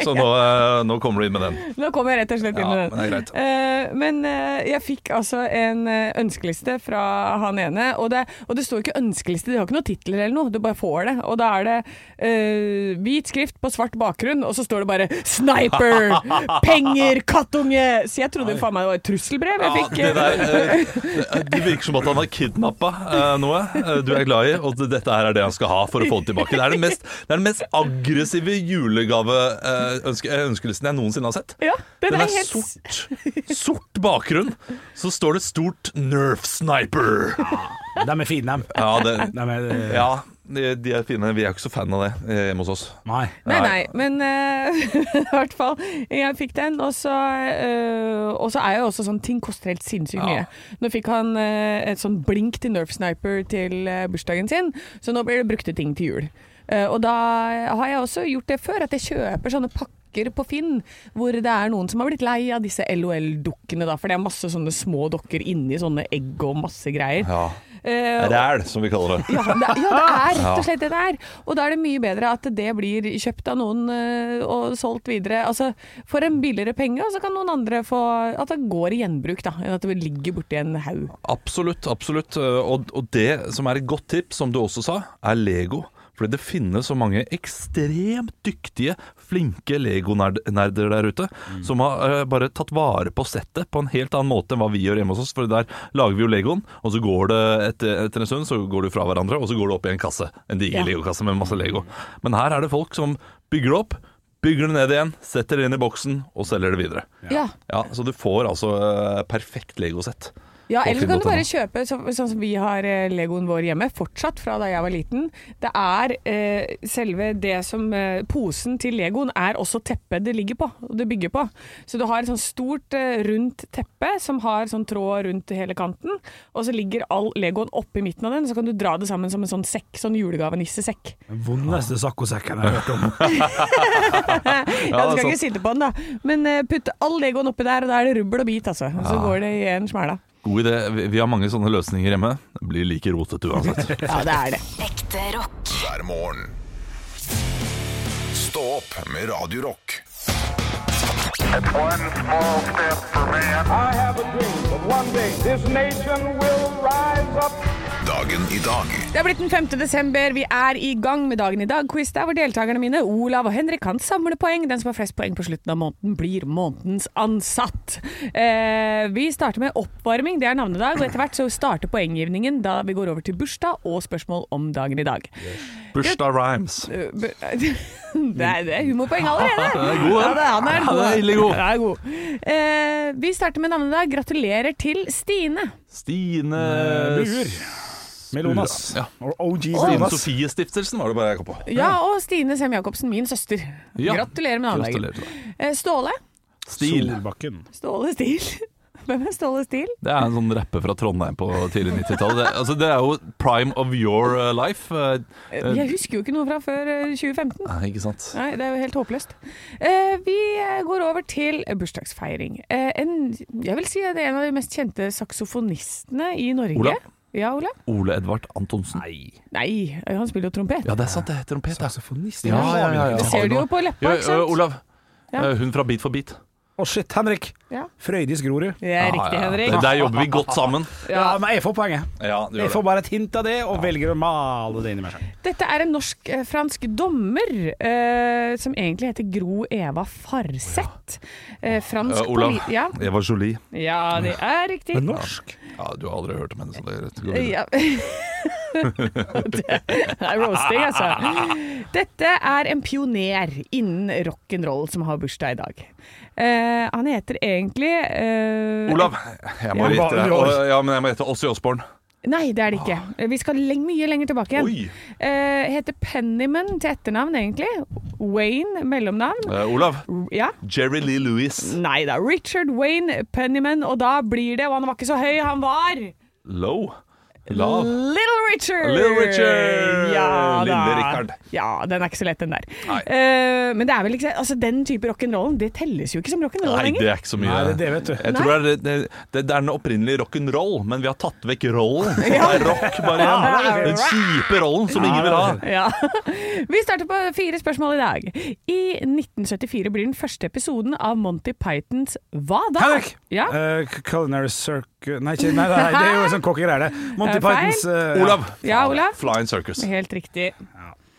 S1: så nå, eh, nå kommer du inn med den.
S5: Nå kommer jeg rett og slett inn
S1: Ja,
S5: med den.
S1: men det er greit.
S5: Eh, men eh, jeg fikk altså en eh, ønskeliste fra han ene, og det, og det står ikke ønskeliste, de har ikke noen titler eller noe, du bare får det. Og da er det eh, hvit skrift på svart bakgrunn, og så står det bare 'sniper', 'penger', 'kattunge'. Så jeg trodde jo faen meg det var et trusselbrev jeg
S1: Ja,
S5: fikk.
S1: det, der, eh, det- det virker som at han har kidnappa noe eh, du er glad i, og det- dette her er det han skal ha for å få det tilbake. Det er den mest, det er den mest aggressive eh, julegaveønskelisten jeg noensinne har sett.
S5: ja, den,
S1: Den
S5: er,
S1: er
S5: helt
S1: sort, sort bakgrunn, så står det stort 'Nerf Sniper'.
S4: De er fine, dem.
S1: Ja, det,
S4: De er, eh,
S1: ja de de er fine. Vi er ikke så fan av det eh, hjemme hos oss.
S4: Nei.
S5: Nei,
S1: Nei.
S5: nei, men eh, i hvert fall. Jeg fikk den, og så, eh, og så er jeg jo også sånn Ting koster helt sinnssykt
S1: Ja.
S5: mye. Nå fikk han eh, et sånn blink til Nerf Sniper til eh, bursdagen sin, så nå blir det brukte ting til jul. Eh, og da har jeg også gjort det før, at jeg kjøper sånne pakker på Finn hvor det er noen som har blitt lei av disse LOL-dukkene, da, for det er masse sånne små dokker inni sånne egg og masse greier.
S1: Ja.
S5: Eh,
S1: Ræl, som vi kaller det.
S5: ja, det, ja, det er rett og slett det det er. Og da er det mye bedre at det blir kjøpt av noen eh, og solgt videre. Altså for en billigere penge, og så kan noen andre få At det går i gjenbruk, da. Enn at det ligger borti en haug.
S1: Absolutt, absolutt. Og, og det som er et godt tips, som du også sa, er Lego. Fordi det finnes så mange ekstremt dyktige, flinke Lego-nerder der ute, som har eh, bare tatt vare på settet på en helt annen måte enn hva vi gjør hjemme hos oss. For der lager vi jo Legoen, og så går det etter, etter en stund så går du fra hverandre, og så går det opp i en kasse. En diger
S5: Ja.
S1: Lego-kasse med masse Lego. Men her er det folk som bygger det opp, bygger det ned igjen, setter det inn i boksen og selger det videre.
S5: Ja.
S1: Ja, Så du får altså eh, perfekt Lego-sett.
S5: Ja,
S1: På
S5: eller kan du
S1: Finn.no.
S5: bare kjøpe så, sånn som vi har eh, Legoen vår hjemme, fortsatt fra da jeg var liten. Det er eh, selve det som eh, Posen til Legoen er også teppet det ligger på, og det bygger på. Så du har et sånt stort, eh, rundt teppe som har sånn tråd rundt hele kanten, og så ligger all Legoen oppi midten av den, så kan du dra det sammen som en sånn sekk, sånn julegavenissesekk.
S4: Den vondeste saccosekken jeg har hørt om.
S5: Ja, du
S1: Ja, det er
S5: skal ikke sitte på den, da. Men eh, putt all Legoen oppi der, og da er det rubbel og bit, altså. Og så går det i en smæla.
S1: God idé. Vi- Vi har mange sånne løsninger hjemme. Det blir like rotete uansett.
S5: Ja, det er det.
S6: Ekte rock.
S2: hver morgen. Stå opp med Radio Rock.
S7: One small step for man. I have a dream that one day this nation will rise up.
S2: Dagen i dag.
S5: Det er blitt den 5. desember, vi er i gang med dagen i dag-quiz der hvor deltakerne mine, Olav og Henrik, kan samle poeng. Den som har flest poeng på slutten av måneden, blir månedens ansatt. Eh, vi starter med oppvarming, det er navnedag, og etter hvert så starter poenggivningen da vi går over til bursdag og spørsmål om dagen i dag.
S1: Bursdag Rhymes.
S5: Eh, bu- Det er, det er humorpoeng allerede!
S1: Den er god,
S5: Ja,
S1: den.
S5: det er, han er
S1: Ja,
S5: god.
S1: den er ille god.
S5: Den er god. Eh, vi starter med navnedag. Gratulerer til Stine. Uh,
S1: Stine
S4: Buer. Melonas.
S1: Ja.
S4: Or OG
S1: Stine
S4: Melonas.
S1: Sofie Stiftelsen var det bare jeg kom på.
S5: Ja, og Stine Sem-Jacobsen, min søster.
S1: Ja.
S5: Gratulerer med navnedagen.
S1: Gratulerer til deg.
S5: Eh, Ståle.
S1: Stil.
S4: Solbakken.
S5: Ståle Stil. Hvem er Ståle Stil?
S1: Det er en sånn rapper fra Trondheim på tidlig 90-tall. Det, altså, det er jo prime of your eh, life. eh, eh,
S5: Jeg husker jo ikke noe fra før eh, 2015.
S1: nei, ikke sant?
S5: Nei, Det er jo helt håpløst. Eh, Vi eh, går over til bursdagsfeiring. Eh, En, jeg vil si at det er en av de mest kjente saksofonistene i Norge.
S1: Olav?
S5: Ja, Ola?
S1: Ole Edvard Antonsen.
S5: Nei, eh, han spiller jo trompet.
S1: Ja, det er sant, det heter trompet. ja.
S4: Saksofonist.
S1: Ja, ja, ja, ja.
S5: Det ser du jo på
S1: Ja,
S5: leppa, ikke
S1: ø,
S5: sant?
S1: Olav.
S5: Ja.
S1: Eh, Hun fra Beat for beat.
S4: Å, shit, Henrik.
S5: Ja.
S4: Frøydis Grorud.
S5: Det er riktig, Henrik.
S1: Der, der jobber vi godt sammen.
S4: Ja, men jeg får poenget.
S1: Ja, du
S4: Jeg
S1: gjør
S4: får
S1: det.
S4: bare et hint av det, og velger å male det inn i meg selv.
S5: Dette er en norsk-fransk dommer eh, som egentlig heter Gro Eva Farseth. Eh, fransk
S1: Eh, Olav.
S5: poli- Ja.
S1: Eva Jolie.
S5: ja, det er riktig.
S4: Men norsk?
S1: Ja, du har aldri hørt om henne, så det er rett. Gå videre.
S5: Ja. det er roasting, altså. Dette er en pioner innen rock'n'roll som har bursdag i dag. Eh, han heter egentlig eh,
S1: Olav, jeg må
S5: Ja.
S1: gjette
S4: Olav.
S1: det. Og- Ja, men jeg må gjette Åssi Osborn.
S5: Nei, det er det ikke. Vi skal leng mye lenger tilbake igjen.
S1: Ah. Oi.
S5: Eh, heter Pennyman til etternavn, egentlig. Wayne mellomnavn.
S1: Eh, Olav.
S5: Ja.
S1: Jerry Lee Lewis.
S5: Nei da. Richard Wayne Pennyman, og da blir det Og han var ikke så høy, han var
S1: Low. Lav.
S5: Little Richard!
S1: Little Richard!
S5: Ja, da.
S1: Lille Richard.
S5: Ja, den er ikke så lett, den der.
S1: Nei.
S5: Eh, men det er vel ikke, altså, den type rock'n'roll det telles jo ikke som rock'n'roll
S1: Nei, det
S5: lenger.
S1: er ikke så mye.
S4: Nei, det er det, vet du.
S1: Jeg tror det, er, det, det, det er den opprinnelige rock'n'roll, men vi har tatt vekk rollen. Så det er rock bare igjen. Den kjipe rollen som ingen vil ha.
S5: Ja. Vi starter på fire spørsmål i dag. I 1974 blir den første episoden av Monty Pythons Hva da?
S4: Henrik!
S5: Ja?
S4: Eh, culinary Circus Nei, ikke, nei, nei, det er jo en sånn kokkegreie, det. Monty
S5: Er det feil?
S4: Pythons eh, ja.
S1: Olav.
S5: Ja, Olav?
S1: Flying Circus.
S5: Helt riktig.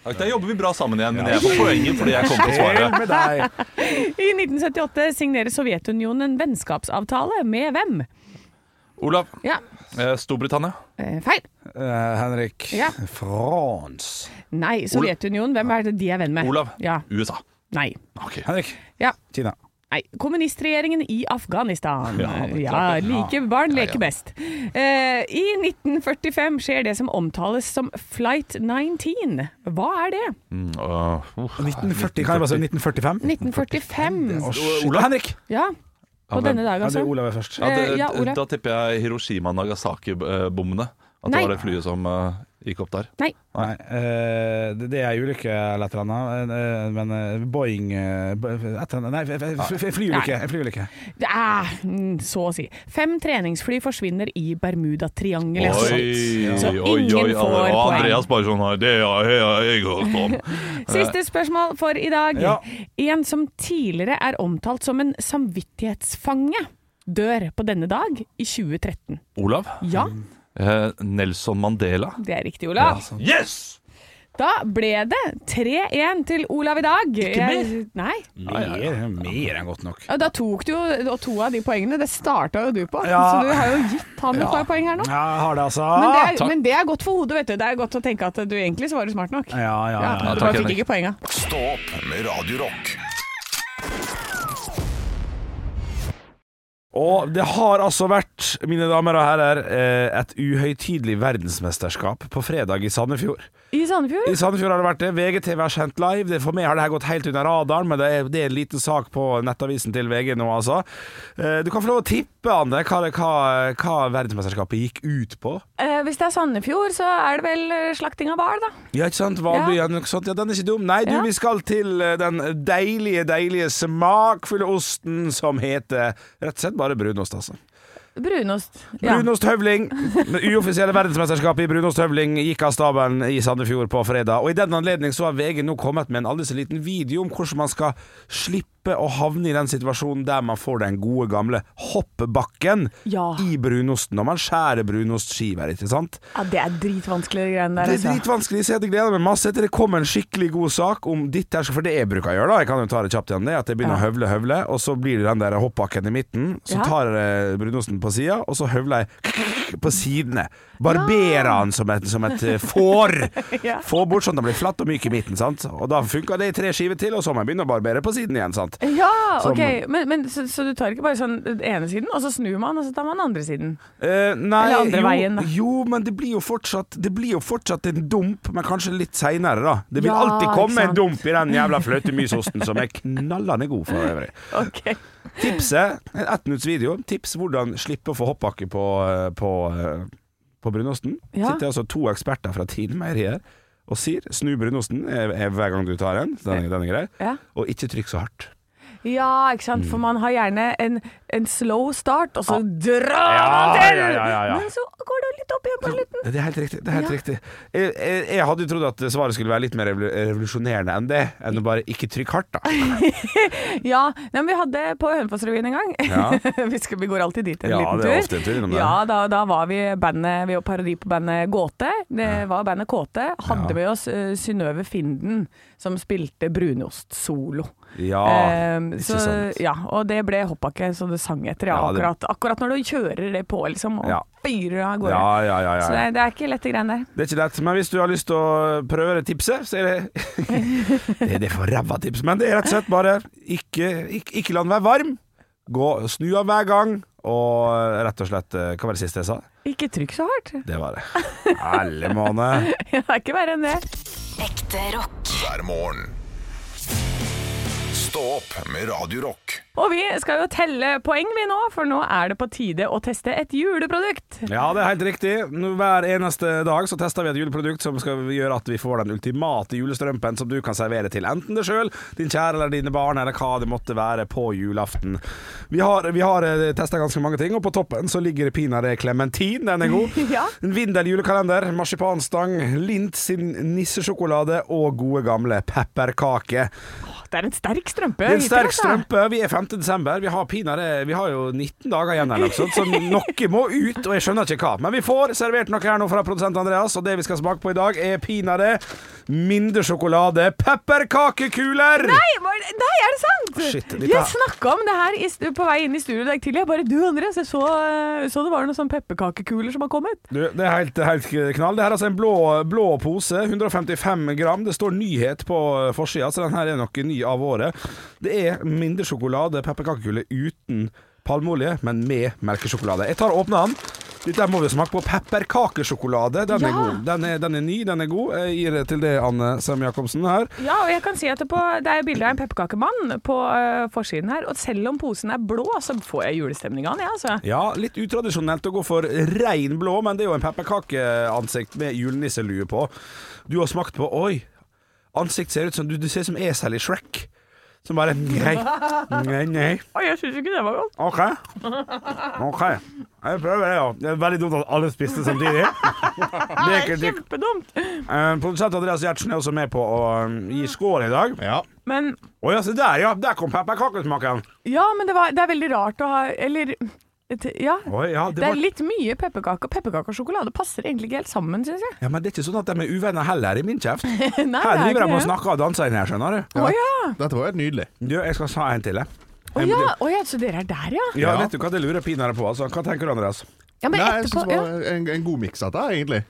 S1: Da jobber vi bra sammen igjen, men jeg får poenget fordi jeg kom på svaret.
S4: Med deg.
S5: I 1978 signerer Sovjetunionen en vennskapsavtale med hvem?
S1: Olav.
S5: Ja,
S1: eh, Storbritannia.
S5: eh, feil.
S4: Eh, Henrik.
S5: Ja.
S4: Frans.
S5: Nei, Sovjetunionen. Hvem er det de er venn med?
S1: Olav.
S5: Ja.
S1: USA.
S5: Nei.
S1: Ok.
S4: Henrik.
S5: Ja.
S4: Kina.
S5: Nei, kommunistregjeringen i Afghanistan.
S1: Ja,
S5: Ja,
S1: det er
S5: like barn leker
S1: ja.
S5: best. Eh, I 1945 skjer det som omtales som Flight 19. Hva er det?
S1: Mm, øh, uff.
S4: 1940, kan jeg bare si 1945?
S5: 1945.
S4: Å, shit.
S1: Olav?
S4: Henrik!
S5: Ja, på
S1: Ja,
S5: denne dag,
S4: Ja, det
S5: altså.
S4: er Olav er først.
S1: Ja, det,
S5: Eh, ja, Olav.
S1: Da tipper jeg Hiroshima og Nagasaki-bommene. At
S5: Nei.
S1: det var det flyet som eh, gikk opp der.
S5: Nei.
S4: Nei, eh, det- det er en ulykke eller et eller annet, eh, men eh, Boeing eh, bo- et eller annet, Nei, f- f- f- flyulykke. en flyulykke.
S5: Det er, mm, så å si. Fem treningsfly forsvinner i Bermudatriangelet. Så ingen får
S1: Andre-
S5: poeng.
S1: Andreas bare sånn her Det har jeg jeg hørt om.
S5: Siste spørsmål for i dag.
S4: Ja.
S5: En som tidligere er omtalt som en samvittighetsfange, dør på denne dag i 2013.
S1: Olav?
S5: Ja,
S1: Eh, Nelson Mandela.
S5: det er riktig, Olav.
S1: Yes!
S5: Da ble det 3-1 til Olav i dag. Ikke mer? Nei.
S4: Mer, mer enn godt nok.
S5: Ja, Da tok du jo og to av de poengene. Det starta jo du på,
S4: Ja.
S5: så du har jo gitt han et par poeng her nå.
S4: Ja, jeg har det, altså.
S5: Men det, er,
S1: takk.
S5: men det er godt for hodet, vet du. Det er godt å tenke at du egentlig så var du smart nok.
S4: Ja, ja, ja.
S5: Ja,
S1: Ja,
S5: du
S1: takk,
S5: bare fikk
S1: Henrik.
S5: ikke poenga.
S2: Stå opp med Radio Rock.
S4: Og det har altså vært, mine damer og herrer, eh, et uhøytidelig verdensmesterskap på fredag i Sandefjord.
S5: I Sandefjord?
S4: I Sandefjord har det vært det. VGTV har sendt live. Det- For meg har det her gått helt under radaren, men det er, det er en liten sak på nettavisen til VG nå, altså. Eh, Du kan få lov å tippe, Anne, hva, det- hva, hva verdensmesterskapet gikk ut på.
S5: Eh, hvis det er Sandefjord, så er det vel eh, slakting av hval, da.
S4: Ja, ikke sant? Valbyen, noe sånt. Ja, den er ikke dum. Nei, du,
S5: Ja.
S4: vi skal til eh, den deilige, deilige smakfulle osten som heter rett og slett bare brunost, altså.
S5: Brunost.
S4: Brunost Høvling. Det uoffisielle verdensmesterskapet i brunost Høvling gikk av stabelen i Sandefjord på fredag. Og I den anledning så har VG nå kommet med en aldri så liten video om hvordan man skal slippe å havne i den situasjonen der man får den gode gamle hoppbakken
S5: Ja.
S4: i brunosten. Og man skjærer brunostskiver, ikke sant?
S5: Ja, det er dritvanskelig greiene der,
S4: Det er
S5: altså.
S4: dritvanskelig, så jeg gleder meg masse til det kommer en skikkelig god sak om ditt her, for det jeg bruker å gjøre, da, jeg kan jo ta det kjapt igjen, det er at jeg begynner å høvle, høvle, og så blir det den der hoppbakken i midten, så
S5: Ja.
S4: tar jeg eh, brunosten på sida, og så høvler jeg på sidene. Barberer den som et, som et eh, får.
S5: Ja.
S4: Får bort sånn at den blir flatt og myk i midten, sant. Og da funker det i tre skiver til, og så må jeg begynne å barbere på siden igjen, sant.
S5: Ja,
S4: Som-
S5: ok. Men, men så, så du tar ikke bare sånn den ene siden, og så snur man, og så tar man den andre siden?
S4: Eh, nei,
S5: Eller andre
S4: jo,
S5: veien, da.
S4: Jo, men det blir jo fortsatt Det blir jo fortsatt en dump, men kanskje litt seinere, da. Det vil
S5: Ja,
S4: alltid komme
S5: ikke
S4: en
S5: sant.
S4: dump i den jævla fløtemysosten, som er knallende god for øvrig.
S5: Ok.
S4: Tipset En ettminuttsvideo. Tips hvordan slippe å få hoppbakke på, eh, på, eh, på brunosten.
S5: Ja.
S4: Sitter altså to eksperter fra Tine Meieri her og sier snu brunosten eh, eh, hver gang du tar en, så den, er- den er grei,
S5: Ja.
S4: og ikke trykk så hardt.
S5: Ja, ikke sant. For
S4: Mm.
S5: man har gjerne en, en slow start, og så drar man
S4: Ah.
S5: til!
S4: ja, ja, ja, ja.
S5: Men så går det litt opp igjen på slutten.
S4: Det er helt riktig. Det er helt
S5: Ja.
S4: riktig. Jeg, jeg, jeg hadde jo trodd at svaret skulle være litt mer revol- revolusjonerende enn det, enn å bare ikke trykk hardt, da.
S5: Ja, nei, men vi hadde på Hønefossrevyen en gang
S4: Ja.
S5: vi, skal, vi går alltid dit en
S4: Ja,
S5: liten tur.
S4: det er ofte en tur innom der.
S5: Ja, da, da var vi bandet Vi var parodi på bandet Gåte. Det var bandet Kåte. Hadde
S4: Ja.
S5: med oss eh, Synnøve Finden, som spilte brunost solo.
S4: Ja,
S5: Ehm,
S4: Ah, ikke
S5: så,
S4: sant.
S5: ja, og det ble hoppbakke så det sang etter. Ja,
S4: Ja, det-
S5: akkurat, akkurat når du kjører det på, liksom, og
S4: Ja.
S5: fyrer av gårde.
S4: Ja, ja, ja,
S5: Så
S4: ja.
S5: det, det er ikke lette greiene der.
S4: Det er ikke lett, men hvis du har lyst til å prøve det tipset, så er det Det er det for ræva tips, men det er rett og slett bare ikke, ikke, ikke la den være varm. Gå, snu av hver gang, og rett og slett eh, Hva var det siste jeg sa?
S5: Ikke trykk så hardt.
S4: Det var det. Alle måned.
S5: Det er ikke verre enn det.
S6: Ekte rock.
S2: hver morgen. Stå opp med Radio Rock.
S5: Og vi skal jo telle poeng vi nå, for nå er det på tide å teste et juleprodukt.
S4: Ja, det er helt riktig. Nå, Hver eneste dag så tester vi et juleprodukt som skal gjøre at vi får den ultimate julestrømpen som du kan servere til enten deg sjøl, din kjære eller dine barn, eller hva det måtte være på julaften. Vi har, vi har testa ganske mange ting, og på toppen så ligger det pinadø klementin. Den er god.
S5: Ja.
S4: En Vindel julekalender, marsipanstang, Lint sin nissesjokolade og gode gamle pepperkaker.
S5: Det er en sterk strømpe.
S4: Det er en sterk
S5: Hitler, altså.
S4: strømpe. Vi er 5. desember. Vi har, pinadø- vi har jo 19 dager igjen, eller noe sånt, så noe må ut. Og jeg skjønner ikke hva. Men vi får servert noe her nå fra produsent Andreas, og det vi skal smake på i dag, er pinadø mindesjokolade pepperkakekuler.
S5: Nei, var det- nei, er det sant?
S4: Shit, litt
S5: jeg
S4: av-
S5: snakka om det her i stu- på vei inn i studio i dag tidlig. Jeg bare Du, Andreas, jeg så, eh, så det var noen sånne pepperkakekuler som har kommet.
S4: Du, det er helt, helt knall. Det her er altså en blå, blå pose, 155 gram. Det står 'nyhet' på eh, forsida, så den her er noe ny av året. Det er mindesjokolade pepperkakekuler uten palmeolje, men med melkesjokolade. Jeg tar og åpner den. Dette her må vi smake på. Pepperkakesjokolade. Den er
S5: Ja.
S4: god. Den er, den er ny, den er god. Jeg gir det til det, Anne Sem-Jacobsen her.
S5: Ja, og jeg kan si at det, på, det er bilde av en pepperkakemann på øh, forsiden her. Og selv om posen er blå, så får jeg julestemning av den, jeg, altså.
S4: Ja, litt utradisjonelt å gå for rein blå, men det er jo en pepperkakeansikt med julenisselue på. Du har smakt på Oi! Ansikt ser ut som Du, du ser ut som esel i Shrek. Som bare Nei, nei, nei.
S5: Oi, jeg syns ikke det var godt.
S4: OK. OK. Jeg prøver det, ja. Det er veldig dumt at alle spiste samtidig. Det er ikke, det,
S5: Kjempedumt.
S4: eh, produsent Andreas Gjertsen er også med på å eh, gi score i dag. Ja.
S5: Men
S4: Å ja, se der, ja. Der kom pepperkakesmaken.
S5: Ja, men det, var, det er veldig rart å ha Eller et- Ja.
S4: Oi, ja,
S5: Det,
S4: det
S5: er
S4: var,
S5: litt mye pepperkake. og Pepperkake og sjokolade passer egentlig ikke helt sammen, syns jeg.
S4: ja, men det er ikke sånn at de er uvenner heller, i min kjeft.
S5: Nei,
S4: Her
S5: det er
S4: driver de
S5: ikke
S4: og
S5: det.
S4: snakker og danser inn her, skjønner du.
S5: Å ja.
S3: Dette var helt nydelig.
S4: Du, jeg skal ta en til, jeg.
S5: Å ja. å ja! Så dere er der, ja?
S4: Ja, vet du hva det lurer pinadø på, altså. Hva tenker du, Andreas?
S5: Ja, men
S3: Nei, jeg
S5: etterpå
S3: synes det
S5: ja.
S3: var en, en god miks av dette, egentlig.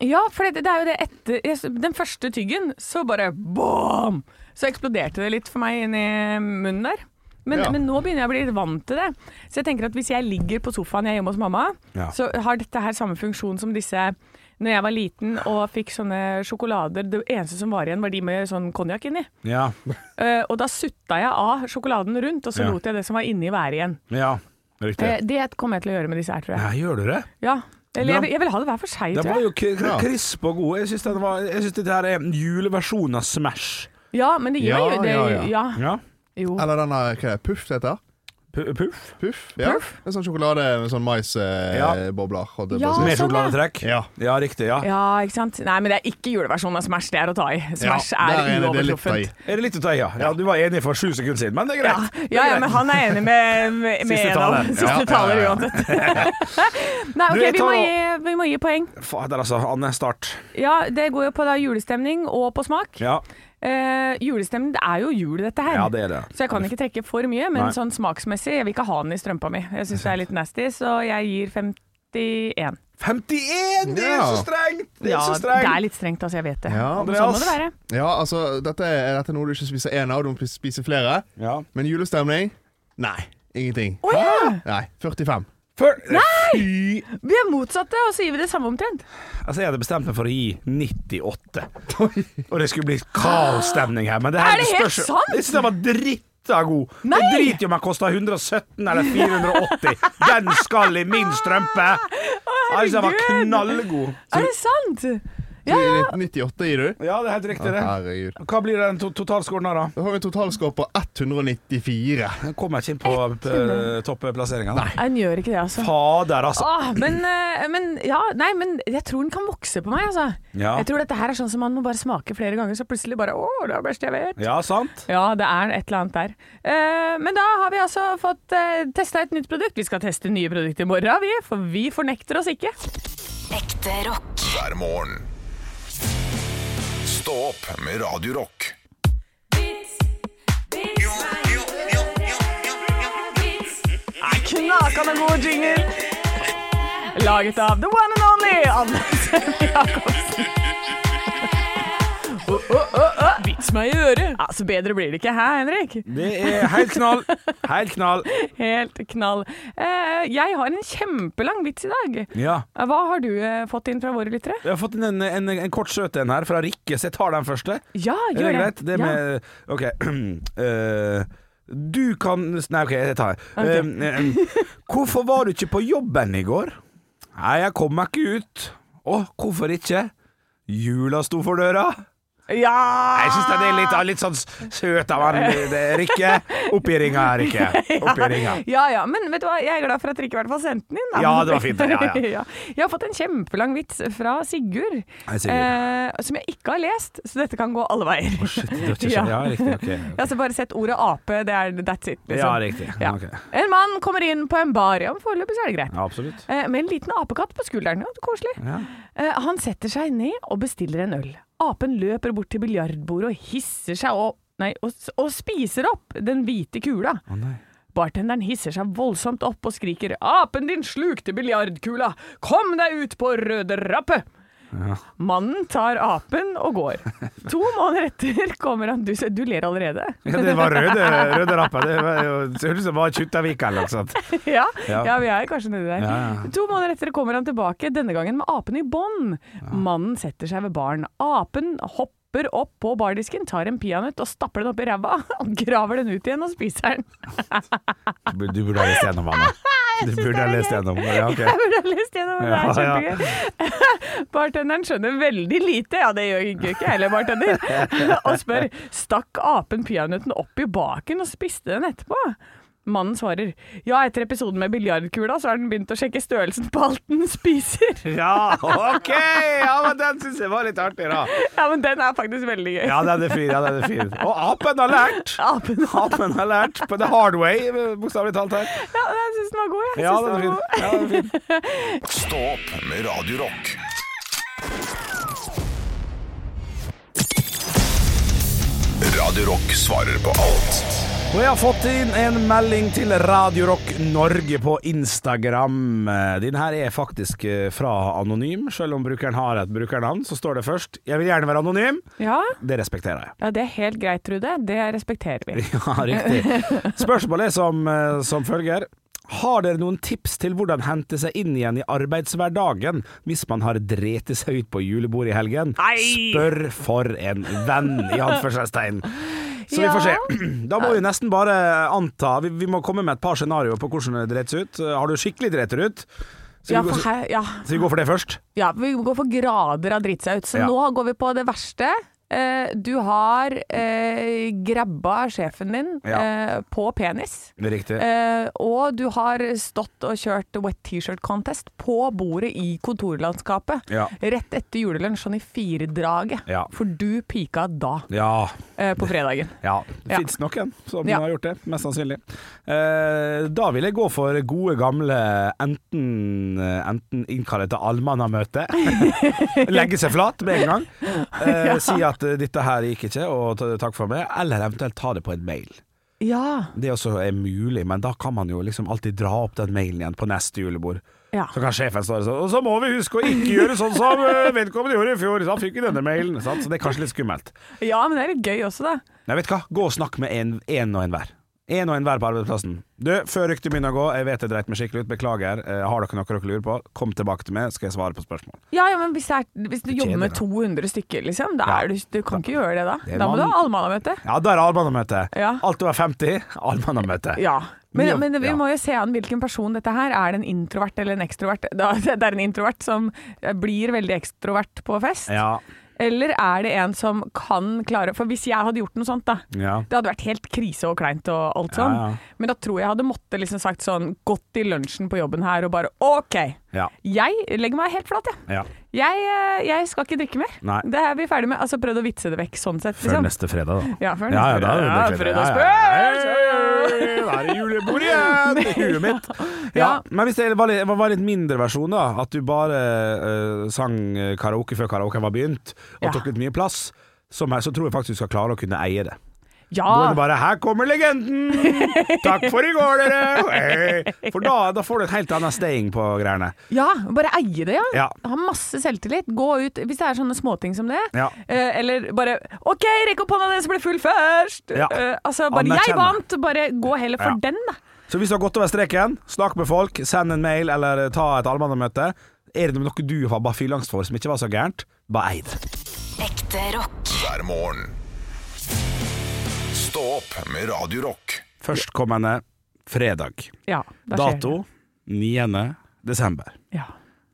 S5: ja, for det, det er jo det etter jeg s- Den første tyggen, så bare boom! Så eksploderte det litt for meg inni munnen der. Men,
S3: Ja.
S5: men nå begynner jeg å bli litt vant til det. Så jeg tenker at hvis jeg ligger på sofaen jeg er hjemme hos mamma,
S4: Ja.
S5: så har dette her samme funksjon som disse Når jeg var liten og fikk sånne sjokolader Det eneste som var igjen, var de med sånn konjakk inni.
S4: Ja.
S5: Eh, og da sutta jeg av sjokoladen rundt, og så
S4: Ja.
S5: lot jeg det som var inni være igjen.
S4: ja. Riktig.
S5: Eh, det kommer jeg til å gjøre med disse her, tror jeg.
S4: Ja, gjør du det?
S5: Ja. Eller
S4: Ja.
S5: jeg vil, jeg vil ha det hver for
S4: Den
S5: seg,
S4: var
S5: tror jeg.
S4: jo k- k- krisp og god. Jeg syns den var- jeg syns dette her er juleversjonen av Smash.
S5: Ja, men det gir
S3: Ja,
S5: meg jo det.
S3: ja,
S5: Ja,
S3: ja.
S5: ja. Jo.
S3: Eller denne hva er det, Puff, det heter.
S4: Pu- Puff?
S3: Puff? Ja. En sånn sjokolade med sånn
S4: Ja.
S3: maisbobler. holdt jeg på
S5: Ja.
S3: å si.
S4: Med
S5: sånn, ja.
S4: sjokoladetrekk?
S3: Ja.
S4: Ja, riktig. ja
S5: Ja, ikke sant. Nei, men det er ikke juleversjonen av Smash, det er å ta i. Smash
S3: Ja,
S5: er
S3: der det- det er litt av i.
S5: uovertruffent.
S4: Er det litt å ta i, ja? Ja, Du var enig for sju sekunder siden, men det er
S5: Ja.
S4: greit.
S5: ja, ja, men han er enig med, med, med
S4: Siste
S5: en av
S4: taler.
S5: siste
S3: Ja, ja,
S5: taler
S3: ja.
S5: uansett. Nei,
S4: Du,
S5: ok,
S4: jeg
S5: vi
S4: tar
S5: må,
S4: nå-
S5: gi, vi må gi poeng.
S4: Fader, altså. Anne, start.
S5: Ja, det går jo på da julestemning og på smak.
S4: Ja,
S5: Eh, julestemning, det er jo jul dette her.
S4: ja det er det.
S5: Så jeg kan ikke trekke for mye, men
S4: Nei.
S5: sånn smaksmessig, jeg vil ikke ha den i strømpa mi. Jeg syns det er litt nasty, så jeg gir 51.
S4: 51! Det er
S3: Ja.
S4: så strengt! Det er
S5: Ja,
S4: så
S5: det
S4: strengt!
S5: er litt strengt, altså, jeg vet det.
S3: Ja,
S5: Men sånn må
S4: Andreas.
S5: det være.
S3: Ja, altså, dette er, er dette noe du ikke spiser én av, du må spise flere.
S4: Ja.
S3: Men julestemning? Nei. Ingenting.
S5: Å ja!
S3: Nei. 45.
S4: Før, Fy
S5: Vi er motsatte, og så gir vi det samme omtrent.
S4: Altså, jeg hadde bestemt meg for å gi 98. Og det skulle bli kaosstemning her. Men det
S5: Er
S4: her
S5: det helt
S4: spørs-
S5: sant?
S4: Jeg synes den var dritta god.
S5: Nei!
S4: Jeg driter i om den kosta 117 eller 480. Den skal i min strømpe! Altså, den var
S5: herregud!
S4: knallgod.
S5: Er det sant? Ja, ja.
S3: 98 gir du?
S4: Ja, det er helt riktig, det.
S3: Herregud.
S4: Hva blir den to totalskåren da? da?
S3: Da har vi en totalscore på 194.
S4: Den kommer ikke inn på eh, topplasseringa. da.
S5: Nei, Den gjør ikke det, altså.
S4: Fader, altså.
S5: Åh, men, eh, men ja, nei, men jeg tror den kan vokse på meg, altså.
S4: Ja.
S5: Jeg tror dette her er sånn som man må bare smake flere ganger, så plutselig bare Å, det er best jeg vet.
S4: Ja, sant?
S5: Ja, det er et eller annet der. Eh, men da har vi altså fått uh, testa et nytt produkt. Vi skal teste nye produkter i morgen, vi, for vi fornekter oss ikke.
S6: Ekte rock.
S2: hver morgen. Stå opp med Radio Rock.
S5: Knakende god jingle! Laget av the one and only Anne Sem Jacobsen. Å, å, å, å, Vits meg i
S8: gjøre.
S5: Ja, så Altså, bedre blir det ikke. Hæ, Henrik?
S4: Det er helt knall. Helt knall.
S5: Helt knall. Eh, jeg har en kjempelang vits i dag.
S4: Ja.
S5: Hva har du eh, fått inn fra våre lyttere?
S4: Jeg har fått inn en, en, en kort søt en her fra Rikke, så jeg tar den første.
S5: Ja,
S4: Er
S5: gjør
S4: det greit? Det
S5: Ja.
S4: med Ok. eh, du kan Nei, OK, jeg tar det. Eh, eh, hvorfor var du ikke på jobben i går? Nei, jeg kom meg ikke ut. Å, hvorfor ikke? Jula sto for døra. Nei, Jeg syns den er
S5: Ah!
S4: litt, litt sånn søt av han det- Rikke. Opp i ringa, Rikke. Opp i ringa.
S5: Ja ja, men vet du hva, jeg er glad for at dere ikke i hvert fall sendte den inn. da.
S4: Ja, det var fint, ja, ja.
S5: Jeg har fått en kjempelang vits fra Sigurd,
S4: Hei, Sigurd.
S5: eh, som jeg ikke har lest, så dette kan gå alle veier.
S4: Det var ikke
S5: Ja.
S4: sånn. Ja, riktig. ok.
S5: Jeg har altså bare sett ordet ape, det er that's it. Liksom.
S4: Ja, riktig.
S5: Ja.
S4: Ok.
S5: En mann kommer inn på en bar, ja, men foreløpig så er det greit.
S4: Ja, absolutt.
S5: Eh, Med en liten apekatt på skulderen. Ja, koselig. Eh, Han setter seg ned og bestiller en øl. Apen løper bort til biljardbordet og hisser seg opp Nei, og, s- og spiser opp den hvite kula. Bartenderen hisser seg voldsomt opp og skriker 'Apen din slukte biljardkula! Kom deg ut på røde rappe!' Mannen tar apen og går. To måneder etter kommer han Du, du ler allerede?
S4: Ja, det var røde, røde rapper. Det var jo- det høres ut som det var Kjuttaviga eller noe sånt.
S5: ja,
S4: Ja.
S5: ja. vi er kanskje nedi der.
S4: Ja, ja.
S5: To måneder etter kommer han tilbake, denne gangen med apen i bånd. Mannen setter seg ved baren. Apen hopper opp på bardisken, tar en peanøtt og stapper den opp i ræva. Graver den ut igjen og spiser den.
S4: Du burde ha lest gjennom, Anne. Du burde ha lest gjennom. Ja, ok.
S5: Jeg burde ha lyst gjennom det.
S4: Ja,
S5: Det er kjempegøy. Bartenderen skjønner veldig lite, ja det gjør ikke ikke jeg heller, bartender, og spør stakk apen peanøtten opp i baken og spiste den etterpå? Mannen svarer ja, etter episoden med biljardkula så har den begynt å sjekke størrelsen på alt den spiser.
S4: Ja, ok! Ja, men Den syns jeg var litt artig, da.
S5: Ja, men den er faktisk veldig gøy.
S4: Ja, den er fin. ja, den er fin. Og apen har lært!
S5: Apen.
S4: Apen har lært på the hard way, bokstavelig talt her.
S5: Ja, jeg syns den var god, jeg. jeg.
S4: Ja,
S5: synes
S4: den er
S5: den
S4: fin.
S5: var god.
S4: Ja, den er fin.
S2: Stå opp med Radio Rock. Radio Rock svarer på alt.
S4: Og jeg har fått inn en melding til Radio Rock Norge på Instagram. Eh, Din her er faktisk eh, fra anonym, selv om brukeren har et brukernavn, så står det først 'Jeg vil gjerne være anonym'.
S5: Ja.
S4: Det respekterer jeg.
S5: ja, det er helt greit, Trude. Det respekterer vi.
S4: Ja, riktig. Spørsmålet er som, eh, som følger. Har dere noen tips til hvordan hente seg inn igjen i arbeidshverdagen hvis man har dreti seg ut på julebordet i helgen? Spør for en venn, i anførselstegn. Så vi får
S5: Ja.
S4: se. Da må vi nesten bare anta Vi, vi må komme med et par scenarioer på hvordan det dreter seg ut. Har du skikkelig dreter ut? Skal,
S5: Ja,
S4: vi, gå,
S5: for
S4: skal
S5: her, ja.
S4: vi gå for det først?
S5: ja, vi går for grader av dritt seg ut. Så
S4: Ja.
S5: nå går vi på det verste. Eh, du har eh, grabba sjefen din
S4: Ja.
S5: eh, på penis.
S4: Riktig.
S5: Eh, og du har stått og kjørt wet t-shirt contest på bordet i kontorlandskapet.
S4: Ja.
S5: Rett etter julelunsj, sånn i firedraget.
S4: Ja.
S5: For du pika da,
S4: Ja.
S5: eh, på fredagen.
S4: Ja, det
S5: Ja.
S4: finnes noen som
S5: Ja.
S4: har gjort det, mest sannsynlig. Eh, da vil jeg gå for gode gamle enten, enten innkalle til allmannamøte, legge seg flat med en gang, eh, si at eh, dette her gikk ikke, og ta- takk for meg, eller eventuelt ta det på en mail.
S5: Ja.
S4: Det også er mulig, men da kan man jo liksom alltid dra opp den mailen igjen på neste julebord.
S5: Ja.
S4: Så kan sjefen stå der sånn, og så må vi huske å ikke gjøre sånn som eh, vedkommende gjorde i fjor, så han fikk vi denne mailen, sant? så det er kanskje litt skummelt.
S5: ja, men det er litt gøy også, da.
S4: Nei, vet du hva? Gå og snakk med en, en og enhver. En og enhver på arbeidsplassen. Du, før ryktet begynner å gå, jeg vet jeg dreit meg skikkelig ut, beklager. Eh, har dere noe dere lurer på, kom tilbake til meg, skal jeg svare på spørsmål.
S5: Ja, ja, men hvis, det er, hvis du jobber med
S4: da.
S5: 200 stykker, liksom, da
S4: Ja.
S5: er du, du kan ikke gjøre det da.
S4: Det er
S5: Da må du
S4: man-
S5: ha allmannamøte.
S4: Ja, da er det allmannamøte.
S5: Ja.
S4: Alt over 50, allmannamøte.
S5: Ja. Men,
S4: Ja,
S5: men vi
S4: ja.
S5: må jo se an hvilken person dette her er. Er det en introvert eller en ekstrovert? Da, det er en introvert som eh, blir veldig ekstrovert på fest.
S4: Ja.
S5: Eller er det en som kan klare For hvis jeg hadde gjort noe sånt, da.
S4: Ja.
S5: Det hadde vært helt krise og kleint og alt sånn.
S4: Ja, ja.
S5: Men da tror jeg jeg hadde måttet liksom sagt sånn Gått i lunsjen på jobben her og bare OK.
S4: Ja.
S5: Jeg legger meg helt flat, jeg.
S4: ja.
S5: Jeg, eh, jeg skal ikke drikke mer.
S4: Nei.
S5: Det er vi ferdig med. Altså prøvd å vitse det vekk sånn sett.
S4: Før
S5: Liksom.
S4: neste fredag, da.
S5: Ja,
S4: Ja,
S5: før
S4: ja,
S5: neste.
S4: da er det
S5: Ja,
S4: bedre.
S5: fredagsspørsmål.
S4: ja, ja. Da er det julebord igjen i huet mitt. Ja.
S5: Ja.
S4: Men hvis det var litt, var litt mindre versjon, da, at du bare eh, sang karaoke før karaoke var begynt, og
S5: Ja.
S4: tok litt mye plass, som her, så tror jeg faktisk du skal klare å kunne eie det.
S5: Ah.
S4: Nå er
S9: Ja.
S4: det bare 'Her kommer legenden! Takk for i går, dere!' Hey. For da, da får du en helt annen staying på greiene.
S5: Ja, bare eie det, ja.
S4: Ja.
S5: Ha masse selvtillit. Gå ut hvis det er sånne småting som det.
S4: Ja.
S5: Eh, eller bare OK, rekk opp hånda den som ble full først!
S4: Ja.
S5: Eh, altså, bare
S4: Anerkjenn.
S5: 'jeg vant', bare gå heller for
S4: Ja.
S5: den, da.
S4: Så hvis du har gått over streken, snakk med folk, send en mail eller ta et allmannamøte. Er det noe du har bare fylleangst for som ikke var så gærent, bare ei det.
S6: Ekte rock.
S2: hver morgen. Stå opp med Radio Rock.
S4: Førstkommende fredag.
S9: Ja, da skjer det.
S4: Dato 9. desember.
S9: Ja.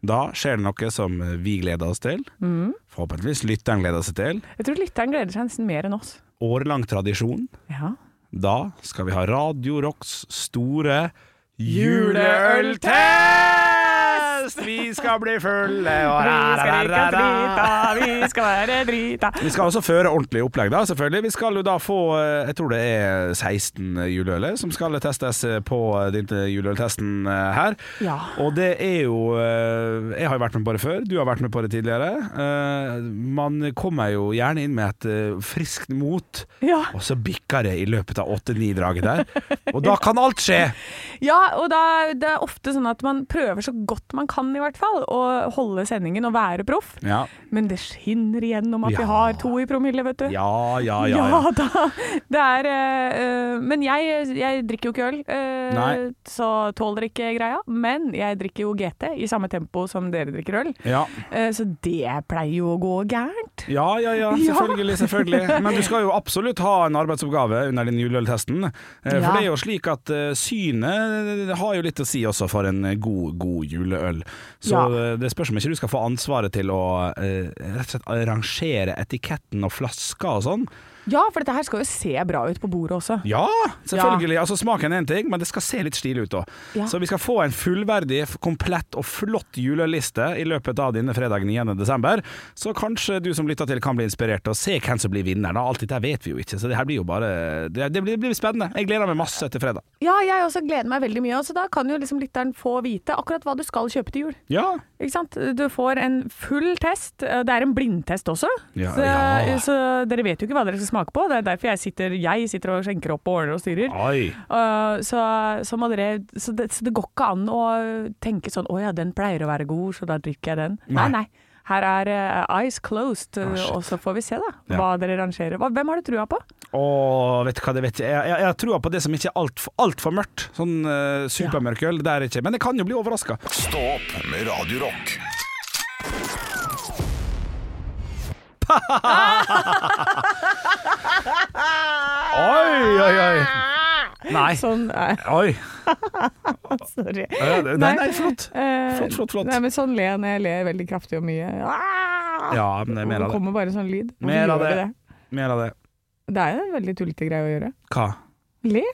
S4: Da skjer det noe som vi gleder oss til.
S9: Mm.
S4: Forhåpentligvis lytteren gleder seg til.
S9: Jeg tror lytteren gleder seg nesten mer enn oss.
S4: Årelang tradisjon.
S9: Ja.
S4: Da skal vi ha Radio Rocks store juleøltest! Vi skal bli fulle og
S9: vi skal være drita.
S4: Vi skal også føre ordentlig opplegg, da, selvfølgelig. Vi skal jo da få eh, jeg tror det er 16 juleøler som skal testes eh, på eh, den eh, juleøltesten eh, her.
S9: Ja.
S4: Og det er jo eh, Jeg har jo vært med på det før, du har vært med på det tidligere. Eh, Man kommer jo gjerne inn med et eh, friskt mot,
S9: Ja.
S4: og så bikker det i løpet av åtte-ni draget der. Og da kan alt skje!
S5: Ja, og da, det er ofte sånn at man prøver så godt man kan, i hvert fall, å holde sendingen og være proff.
S4: Ja,
S5: Men det skinner igjennom at
S4: Ja.
S5: vi har to i promille, vet du.
S4: ja, ja. ja, ja.
S5: da. Det er eh, eh, Men jeg, jeg drikker jo ikke øl, eh,
S4: Nei.
S5: så tåler ikke greia. Men jeg drikker jo GT i samme tempo som dere drikker øl,
S4: ja.
S5: eh, så det pleier jo å gå gærent.
S4: Ja, ja, ja, selvfølgelig, selvfølgelig. Men du skal jo absolutt ha en arbeidsoppgave under den juleøltesten. Eh, For
S5: Ja.
S4: det er jo slik at eh, synet har jo litt å si også for en eh, god, god juleøl. Så
S5: Ja.
S4: eh, det spørs om ikke du skal få ansvaret til å eh, rett og slett arrangere etiketten og flaska og sånn.
S5: Ja, for dette her skal jo se bra ut på bordet også.
S4: Ja, selvfølgelig. Altså Smaken er én ting, men det skal se litt stilig ut òg.
S5: Ja.
S4: Så vi skal få en fullverdig, f- komplett og flott juleøliste i løpet av denne fredagen 9.12. Så kanskje du som lytter til kan bli inspirert og se hvem som blir vinner. Da. Alt dette vet vi jo ikke, så det her blir jo bare Det, det, blir, det blir spennende. Jeg gleder meg masse til fredag.
S5: Ja, jeg også gleder meg veldig mye, og så da kan jo liksom lytteren få vite akkurat hva du skal kjøpe til jul.
S4: Ja.
S5: Ikke sant? Du får en full test. eh, Det er en blindtest også,
S4: Ja,
S5: så,
S4: ja.
S5: så dere vet jo ikke hva dere skal smake på. Det er derfor jeg sitter, jeg sitter og skjenker opp og ordner og styrer.
S4: Oi.
S5: Uh, så, så, må dere, så, det, så det går ikke an å tenke sånn 'Å ja, den pleier å være god, så da drikker jeg den'. Nei, nei. Her er
S9: eh,
S5: uh, eyes closed, og så får vi se da
S4: Ja.
S5: hva dere rangerer. Hva, hvem har du trua på?
S4: Åh, vet du hva, det vet jeg. Jeg, jeg, jeg har trua på det som ikke er altfor alt for mørkt. Sånn uh, supermørk øl, det er ikke. Men jeg kan jo bli overraska.
S2: Stå opp med Radio Rock.
S4: Oi, oi, oi. Nei.
S9: Sånn er
S4: Oi.
S9: Sorry.
S4: Ja, det- Nei, nei, flott.
S9: Eh,
S4: Flott, flott, flott.
S9: Nei, men sånn ler jeg når jeg ler veldig kraftig og mye. Ah!
S4: Ja, men det er mer
S9: det
S4: av det.
S9: kommer bare sånn lyd. Hvorfor
S4: Mer av
S9: gjør vi
S4: det. Mer av det.
S9: det? Det er jo en veldig tullete greie å gjøre.
S4: Hva?
S9: Le.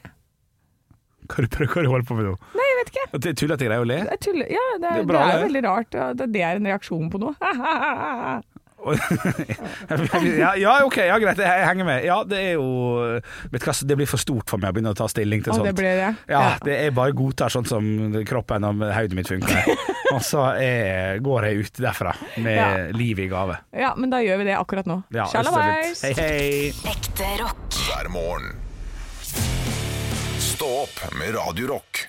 S4: Hva er det du holder på med nå?
S9: Nei, jeg vet ikke.
S4: At Det er tull at jeg greier å le.
S9: Det er, tull... ja, det er,
S4: Det
S9: det
S4: er
S9: er,
S4: bra,
S9: jo
S4: det.
S9: veldig rart. ja, Det det er en reaksjon på noe.
S4: ja, ja, ok, ja, greit, jeg, jeg henger med. Ja, det er jo Vet du hva, det blir for stort for meg å begynne å ta stilling til
S9: Og
S4: sånt.
S9: det blir det.
S4: Ja, det er bare godtar sånn som kroppen og hodet mitt funker. Og så er, går jeg ut derfra med livet i gave.
S9: Ja, men da gjør vi det akkurat nå.
S4: Ja, det er
S9: Shalabais!
S4: så fint. Hei, hei.
S6: Ekte rock.
S2: hver morgen. Stå opp med Radio Rock.